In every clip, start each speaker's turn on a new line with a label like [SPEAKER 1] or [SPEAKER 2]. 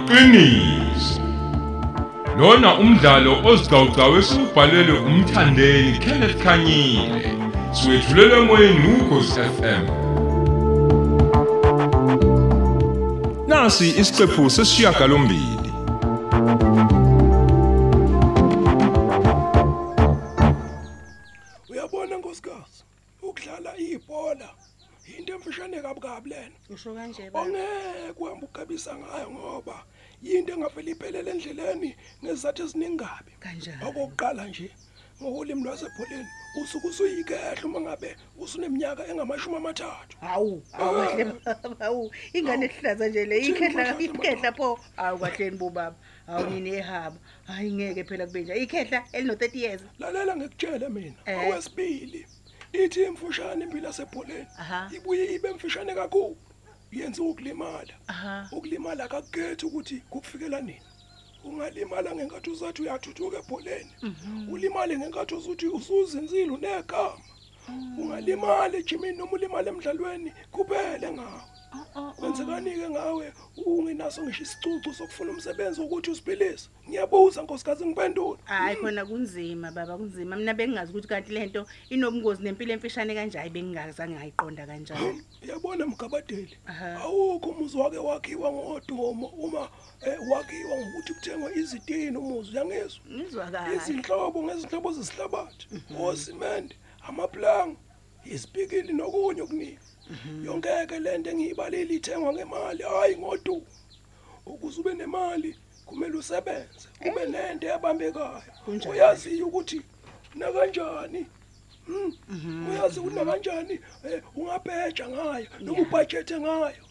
[SPEAKER 1] iqiniso lona umdlalo ozigcawugcawe siubhalelwe umthandeni Kenneth Khanyile siwethulelwe emoyeni ukhosi FM nasi isiqephu sesishiyagalombili
[SPEAKER 2] uyabona nkosikazi ukudlala ibhola into emfishane kabi kabi lena
[SPEAKER 3] usho kanje baba
[SPEAKER 2] ongeke uhambe ugabisa ngayo ngoba yinto engavele iphelele endleleni ngezizathu eziningabi
[SPEAKER 3] Kanjani?
[SPEAKER 2] okokuqala nje ngokulimi lwasebholeni usuke usuyikehla uma ngabe usuneminyaka engamashumi amathathu
[SPEAKER 3] hawu awukahle baba hawu ingane ehlaza nje le ikhehla ikhehla pho hawu kahleni bo baba hawu nini ehaba hayi ngeke phela kube nje ikhehla elino-30 years
[SPEAKER 2] lalela ngikutshele mina
[SPEAKER 3] Eh.
[SPEAKER 2] owesibili ithi imfushane impilo yasebholeni
[SPEAKER 3] Aha.
[SPEAKER 2] ibuye ibe mfishane kakhulu yenziwa ukulimala
[SPEAKER 3] aha
[SPEAKER 2] ukulimala akakugethi ukuthi kukufikela nini ungalimala ngenkathi uzathi uyathuthuka ebholeni
[SPEAKER 3] Mhm.
[SPEAKER 2] ulimale ngenkathi uzuthi usuzinzile unegama
[SPEAKER 3] Mhm.
[SPEAKER 2] ungalimali ejimini noma ulimale emdlalweni kuphele ngawe
[SPEAKER 3] Uh-uh,
[SPEAKER 2] kwenzekani-ke ngawe ungenaso ngisho isicucu sokufuna umsebenzi wokuthi usiphilise ngiyabuza nkosikazi ngipendula
[SPEAKER 3] hayi khona kunzima baba kunzima mina bengingazi ukuthi kanti le nto inobungozi nempilo emfishane kanje hayi bengingazange ngayiqonda kanjani
[SPEAKER 2] uyabona Hmm? mgabadeli
[SPEAKER 3] Aha.
[SPEAKER 2] awukho umuzi wake wakhiwa ngodumo uma eh, wakhiwa ngokuthi kuthengwa izitini umuzi uyangezwa
[SPEAKER 3] ngizwa kahle
[SPEAKER 2] izinhlobo ngezinhlobo zesihlabathi osimende amaplanga isipikili nokunye okuningi yonkeke le nto engiyibalile ithengwa ngemali hhayi ngodumo ukuze ube nemali kumele usebenze ube nento ebambekayo
[SPEAKER 3] Kunjani?
[SPEAKER 2] uyaziyo ukuthi nakanjani Mm. uyazi ukuthi nakanjani um ungabheja ngayo noma ubhajethe ngayo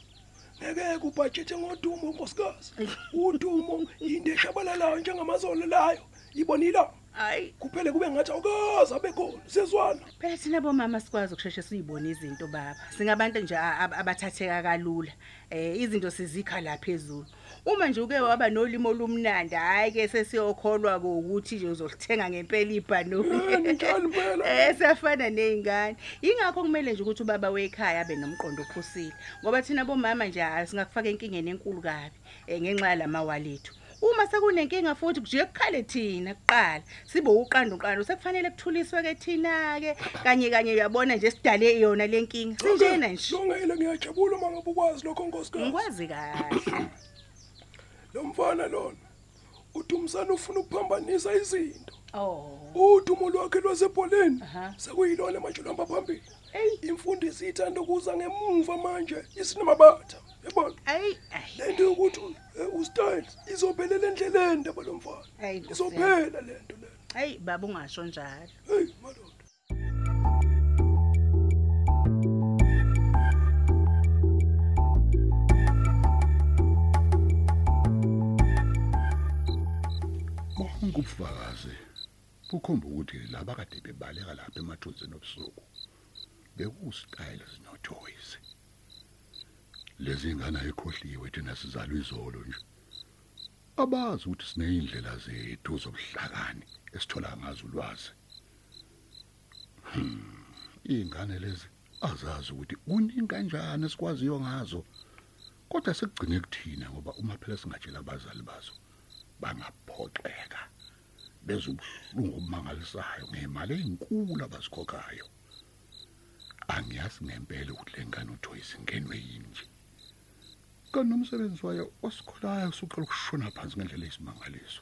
[SPEAKER 2] ngeke ubhajethe ngodumo nkosikazi udumo yinto eshabalalayo njengamazolo layo ibonila
[SPEAKER 3] hayi
[SPEAKER 2] kuphele kube ngathi awukaze abekhona sezwana
[SPEAKER 3] phela thina bomama sikwazi ukusheshe siyibone izinto baba singabantu nje a- ab- abathatheka kalula um izinto sizikhala phezulu uma nje uke waba nolimi olumnandi hhayi-ke sesiyokholwa-ke ukuthi nje uzolithenga ngempela
[SPEAKER 2] Eh, njani
[SPEAKER 3] ibhanoni
[SPEAKER 2] impela?
[SPEAKER 3] um siyafana ney'ngane yingakho kumele nje ukuthi ubaba wekhaya abe nomqondo ophusile ngoba thina bomama nje hhayi singakufaka enkingeni enkulu kabi um ngenxa yalamawalethu uma sekunenkinga futhi kujike kukhale thina kuqala sibe uqando uqando sekufanele kuthuliswe-ke thina-ke kanye kanye uyabona nje sidale yona le nkinga sinjena nje
[SPEAKER 2] lungile ngiyajabula uma ngabe ukwazi lokho nkosikazi
[SPEAKER 3] ngikwazi kahle
[SPEAKER 2] lo mfana lona udumisane ufuna ukuphambanisa izinto
[SPEAKER 3] o
[SPEAKER 2] udumo lwakhe lwasebholeni
[SPEAKER 3] Aha.
[SPEAKER 2] sekuyilona manje lohamba phambili
[SPEAKER 3] eyi
[SPEAKER 2] imfundo isithanda ukuza ngemuva manje isinamabatha yabona
[SPEAKER 3] ayi ayi
[SPEAKER 2] lento yokuthi eh, ustyles izophelela endleleni ndaba lomfana
[SPEAKER 3] Ayi, Nkosi yami.
[SPEAKER 2] izophela lento le
[SPEAKER 3] ayi baba ungasho njalo
[SPEAKER 2] hey madoda
[SPEAKER 4] bonke ubufakazi bukhomba ukuthi laba kade bebaleka lapha emathunzini obusuku bekuwustyles no-toys lezi ngane ayikhohliwe thina sizalwe izolo nje abazi ukuthi siney'ndlela zethu zobuhlakani esithola ngazo ulwazi Hmm, iy'ngane lezi azazi ukuthi kuningi kanjani esikwaziyo ngazo kodwa sekugcine kuthina ngoba uma phela singatshela abazali bazo bangaphoxeka bezobuhlungu obumangalisayo ngemali eyinkulu abazikhokhayo angiyazi ngempela ukuthi le ngane uthoyisi ngenwe yini nje kanti nomsebenzi wayo osikholayo suqala ukushona phansi ngendlela eyisimangaliso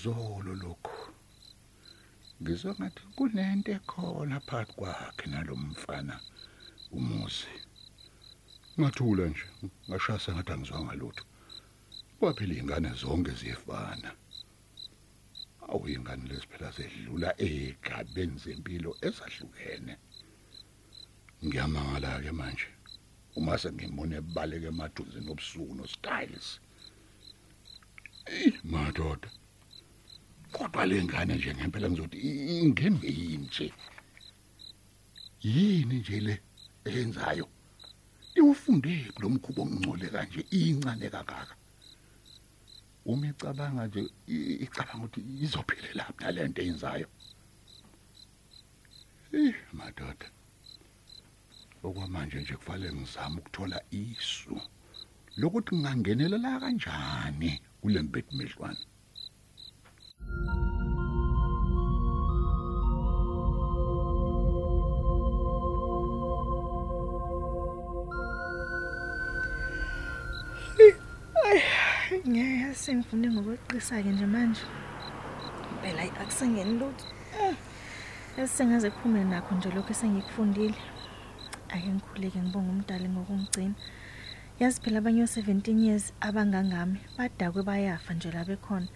[SPEAKER 4] zolo lokhu ngizwa ngathi kunento ekhona phakathi kwakhe nalo mfana umuzi ngathula nje ngashasa ngathi angizwanga lutho kwaphela iy'ngane zonke ziyefana awu iy'ngane lezi phela zedlula ey'gabeni zempilo ezahlukene ngiyamangala-ke manje uma sengimone baleke emaduzini obusuku nostyles eyi madoda kodwa le ngane nje ngempela ngizothi i- i- ingenwe yini nje yini nje le eyenzayo iwufundephi lo mkhuba omngcole kanje incane kangaka uma icabanga nje i- icabanga ukuthi izophila lapha le nto eyenzayo eh madoda okwamanje nje kufanele ngizame ukuthola isu
[SPEAKER 5] lokuthi ngingangenelela kanjani kulembethu midlwane
[SPEAKER 6] ngeke sengifunde ngokweqisa-ke nje manje phela hayi akusengeni lutho esengaze kuphume nakho nje lokhu esengikufundile ake ngikhuleke ngibonge umdali ngokungigcina yazi phela abanye o-seventeen years abangangami badakwe bayafa nje la bekhona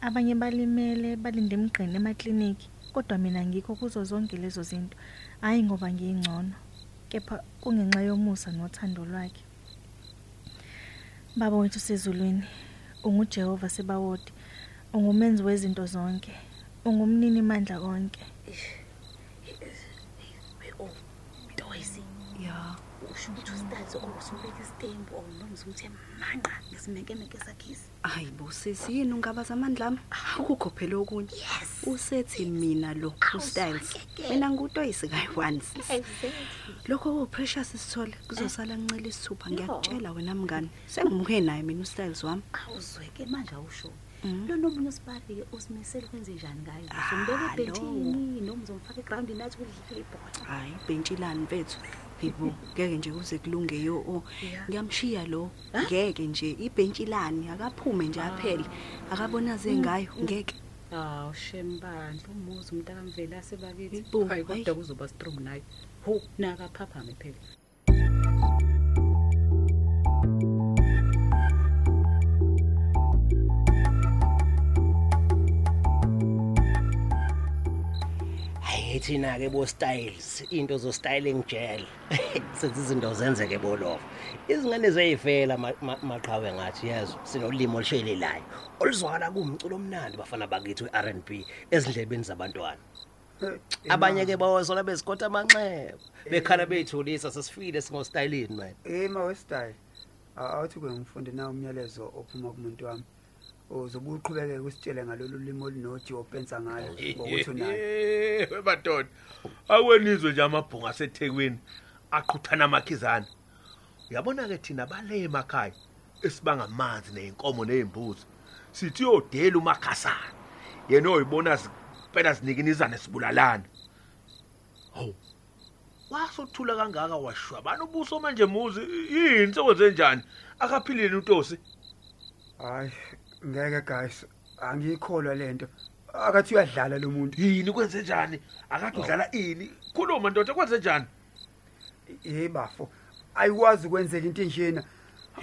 [SPEAKER 6] abanye balimele balinde emgqini emakliniki kodwa mina ngikho kuzo zonke lezo zinto hhayi ngoba ngiyingcono kepha kungenxa yomusa nothando lwakhe Baba wethu sezulwini, unguJehova sebawodi. Ungumenzi wezinto zonke. Ungumnini mandla konke.
[SPEAKER 7] Doyisi. Ya. Usho ukuthi ustazi osubeka isithembu olomza ukuthi manqa ngesimekemeke sakhisi.
[SPEAKER 8] hayi bo sisi yini ungabaza amandla ami akukho phela okunye
[SPEAKER 7] Yes.
[SPEAKER 8] usethi mina lo ustyles
[SPEAKER 7] sakeke.
[SPEAKER 8] mina ngutoyisi kayi-one sisi
[SPEAKER 7] Exactly.
[SPEAKER 8] lokho kuwupressure sisithole kuzosala ncela isithupha ngiyakutshela wena mngani sengimuke naye mina ustyles wami
[SPEAKER 7] Awuzweke manje awusho.
[SPEAKER 8] Mhm.
[SPEAKER 7] Lo nomunye usibari-ke usimisele ukwenze njani ngayo
[SPEAKER 8] Ah,
[SPEAKER 7] uzombeka
[SPEAKER 8] lo.
[SPEAKER 7] ebhentshini noma uzomfaka egrawundini athi udlale ibhola
[SPEAKER 8] hayi bhentshelani mfethu yibo ngeke nje kuze kulunge yo o
[SPEAKER 7] Yeah.
[SPEAKER 8] ngiyamshiya lo ngeke nje ibhentshelani akaphume nje aphele akabonaze ngayo ngeke
[SPEAKER 7] hawu shembandla umuzi umntakamveli asebakithi
[SPEAKER 8] Ibu,
[SPEAKER 7] hayi kodwa
[SPEAKER 8] hayi.
[SPEAKER 7] kuzoba strong nayo ho nakaphaphame phela
[SPEAKER 2] hayi thina-ke bo-styles into zo-style engijele senze izinto zenzeke bolofa izingane ziyayifela ma- ma- maqhawe ngathi yezo sinolimi olushelelayo oluzwakala kuwumculo omnandi bafana bakithi we-r n b ezindlebeni zabantwana abanye-ke bawasola bezikhotha amanxeba bekhala beyithulisa sesifile singostylini man
[SPEAKER 9] ema westyle Eh, awuthi ke ngifunde na umyalezo ophuma kumuntu wami uzobe uqhubekeke usitshele ngalolu limi olunoji opensa ngalo ngokuthi unayo
[SPEAKER 4] Eh, madoda awenizwe nje amabhunga asethekwini aqhuthana amakhizana uyabona-ke thina bale emakhaya esibangamanzi ney'nkomo ney'mbuzi sithi uyodela umakhasana yena oyibona pela zinikinizane sibulalana hawu wasothula kangaka washwabana ubuso manje muzi yini sekwenzenjani akaphilile utosi
[SPEAKER 9] hayi ngeke guys angiyikholwa lento akathi uyadlala lo muntu
[SPEAKER 4] yini kwenzenjani akade udlala ini khuluma ndoda kwenzenjani
[SPEAKER 9] yebafo ayikwazi ukwenzeka into enjena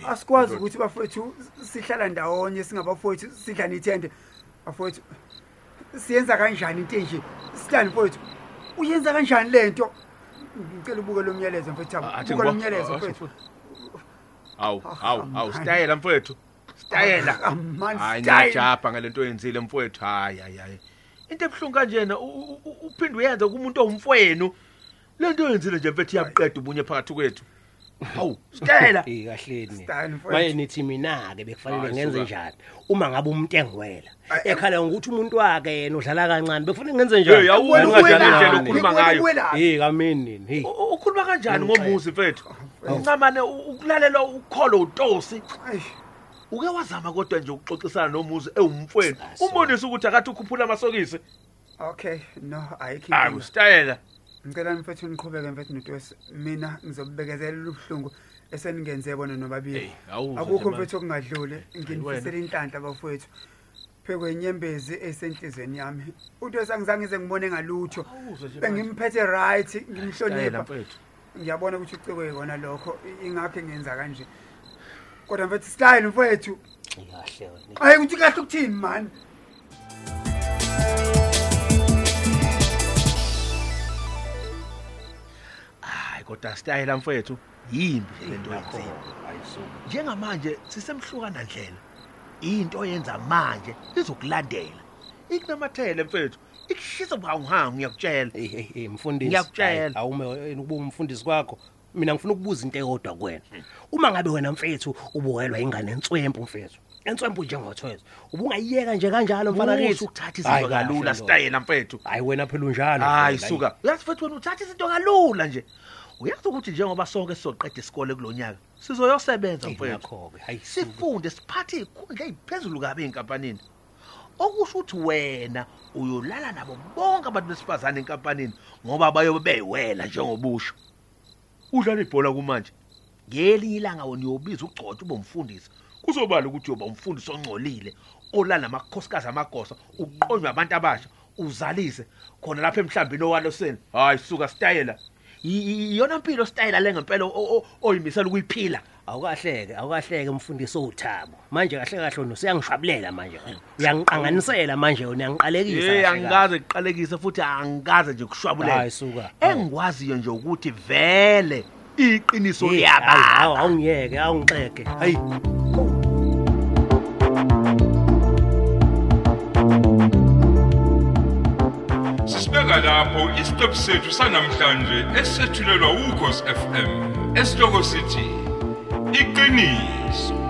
[SPEAKER 9] asikwazi ukuthi bafowethu sihlala ndawonye singabafowethu sidlane ithende bafowethu siyenza kanjani into enje sitani mfowethu uyenza kanjani le nto ngicela ubuke lo myalezo mfowethu
[SPEAKER 4] Ah, athi
[SPEAKER 9] buka lo
[SPEAKER 4] ngibo-
[SPEAKER 9] myalezo
[SPEAKER 4] ah,
[SPEAKER 9] mfowethu
[SPEAKER 4] awu awu awu
[SPEAKER 9] man.
[SPEAKER 4] sitayela mfowethu sitayela
[SPEAKER 9] Ah, man,
[SPEAKER 4] hayi
[SPEAKER 9] style.
[SPEAKER 4] ngiyajabha ngale nto oyenzile mfowethu hayi hayi hayi into ebuhlungu kanjena u- u- u- uphinde uyenze kumuntu owumfwenu le nto oyenzile nje mfethu iyabuqeda ubunye phakathi kwethu hawu sitayela
[SPEAKER 2] Eh, kahleni
[SPEAKER 9] Style, mfowethu.
[SPEAKER 2] maye nithi mina-ke bekufanele
[SPEAKER 4] Hayi,
[SPEAKER 2] ngenze
[SPEAKER 4] suka.
[SPEAKER 2] njani uma ngabe umuntu engiwela
[SPEAKER 9] Ay, ay.
[SPEAKER 2] ekhala ngokuthi umuntu wakhe yena udlala kancane bekufanele ngenze
[SPEAKER 4] Hey, awu,
[SPEAKER 9] Wena
[SPEAKER 4] ungadlali
[SPEAKER 9] uwelaphi?
[SPEAKER 4] indlela
[SPEAKER 9] Wena
[SPEAKER 4] okhuluma ngayo.
[SPEAKER 9] uwelaphi?
[SPEAKER 2] Eh, kamini nini heyi
[SPEAKER 4] U- ukhuluma kanjani ngomuzi mfethu uncamane u- ukulalela ukholo utosi
[SPEAKER 9] Ayi,
[SPEAKER 4] uke wazama kodwa nje ukuxoxisana nomuzi ewumfwenu
[SPEAKER 2] Sasa.
[SPEAKER 4] umbonise ukuthi akathi ukhuphula amasokisi
[SPEAKER 9] okay no ayikho
[SPEAKER 4] awu
[SPEAKER 9] inkinga.
[SPEAKER 4] sitayela
[SPEAKER 9] ngicela mfethu niqhubeke mfethu notwesi mina ngizobubekezelela ubuhlungu eseningenze bona nobabili
[SPEAKER 4] Hey, awuzwa
[SPEAKER 9] akukho
[SPEAKER 4] nje
[SPEAKER 9] mfethu okungadluli nginifisela inhlanhla bafowethu phekwenyembezi esenhlizweni yami untwesi angizange ngize ngibone ngalutho
[SPEAKER 4] Awuzwa nje manje.
[SPEAKER 9] bengimphethe right
[SPEAKER 4] sitayela
[SPEAKER 9] ngimhlonipha
[SPEAKER 4] mfethu
[SPEAKER 9] ngiyabona ukuthi ucikwe kona lokho i- ingakho engenza kanje kodwa mfethu style mfowethu
[SPEAKER 2] kahle wena
[SPEAKER 9] hayi ukuthi kahle ukuthini mani
[SPEAKER 4] hayi kodwa sitayela mfowethu yimbi le nto yenzile
[SPEAKER 2] ayisuka
[SPEAKER 4] njengamanje sisemhlukana ndlela into oyenza manje izokulandela ikunamathele mfethu ikushisa buhangihanga ngiyakutshela
[SPEAKER 2] eyi eyi eyi Eh, mfundisi
[SPEAKER 4] Ngiyakutshela.
[SPEAKER 2] Hhayi, awume wena ukuba umfundisi kwakho mina ngifuna ukubuza into eyodwa kuwena uma ngabe wena mfethu ubuwelwa ingane enswempu mfethu enswempu njengothwezo ubungayiyeka nje kanjalo mfana
[SPEAKER 4] Usho
[SPEAKER 2] kethu
[SPEAKER 4] ukuthatha izinto kalula sitayela mfethu
[SPEAKER 2] hayi wena phela unjalo
[SPEAKER 4] hayi
[SPEAKER 2] mfela, hhayi.
[SPEAKER 4] suka uyazi mfethu wena uthatha izinto kalula nje uyazi ukuthi njengoba sonke sizoqeda isikole kulo nyaka sizoyosebenza mfowethu
[SPEAKER 2] Ngakho-ke, hayi,
[SPEAKER 4] sifunde siphathe ikhundla eziphezulu kabi enkampanini okusho ukuthi wena uyolala nabo bonke abantu besifazane enkampanini ngoba bayobe beyiwela njengobusho udlala ibhola kumanje ngelinye ilanga wona uyobiza ugcotha ube umfundisi kuzobala ukuthi uyoba umfundisi ongcolile olala namakhosikazi amagosa uqonywa abantu abasha uzalise khona lapha emhlambini owaloseni hayi suka stayela I- i- iyona mpilo stayela le ngempela o- o- oyimisela ukuyiphila
[SPEAKER 2] awukahleke awukahleke mfundisi uthabo manje kahle kahle wena usiyangishwabulela manje wena. uyangiqanganisela manje wena uyangiqalekisa
[SPEAKER 4] Eh
[SPEAKER 2] kahle kahle.
[SPEAKER 4] angikaze kuqalekise futhi angikaze nje kushwabulela
[SPEAKER 2] Hayi, suka.
[SPEAKER 4] engikwaziyo nje ukuthi vele iqiniso
[SPEAKER 2] Hey,
[SPEAKER 4] liyaba
[SPEAKER 2] hawu, Eh, hawu, awungiyeke awungixeke hayi
[SPEAKER 1] Sisibeka lapho isiqephu sethu sanamhlanje esethulelwa ukhosi FM. Esihloko sithi iqiniso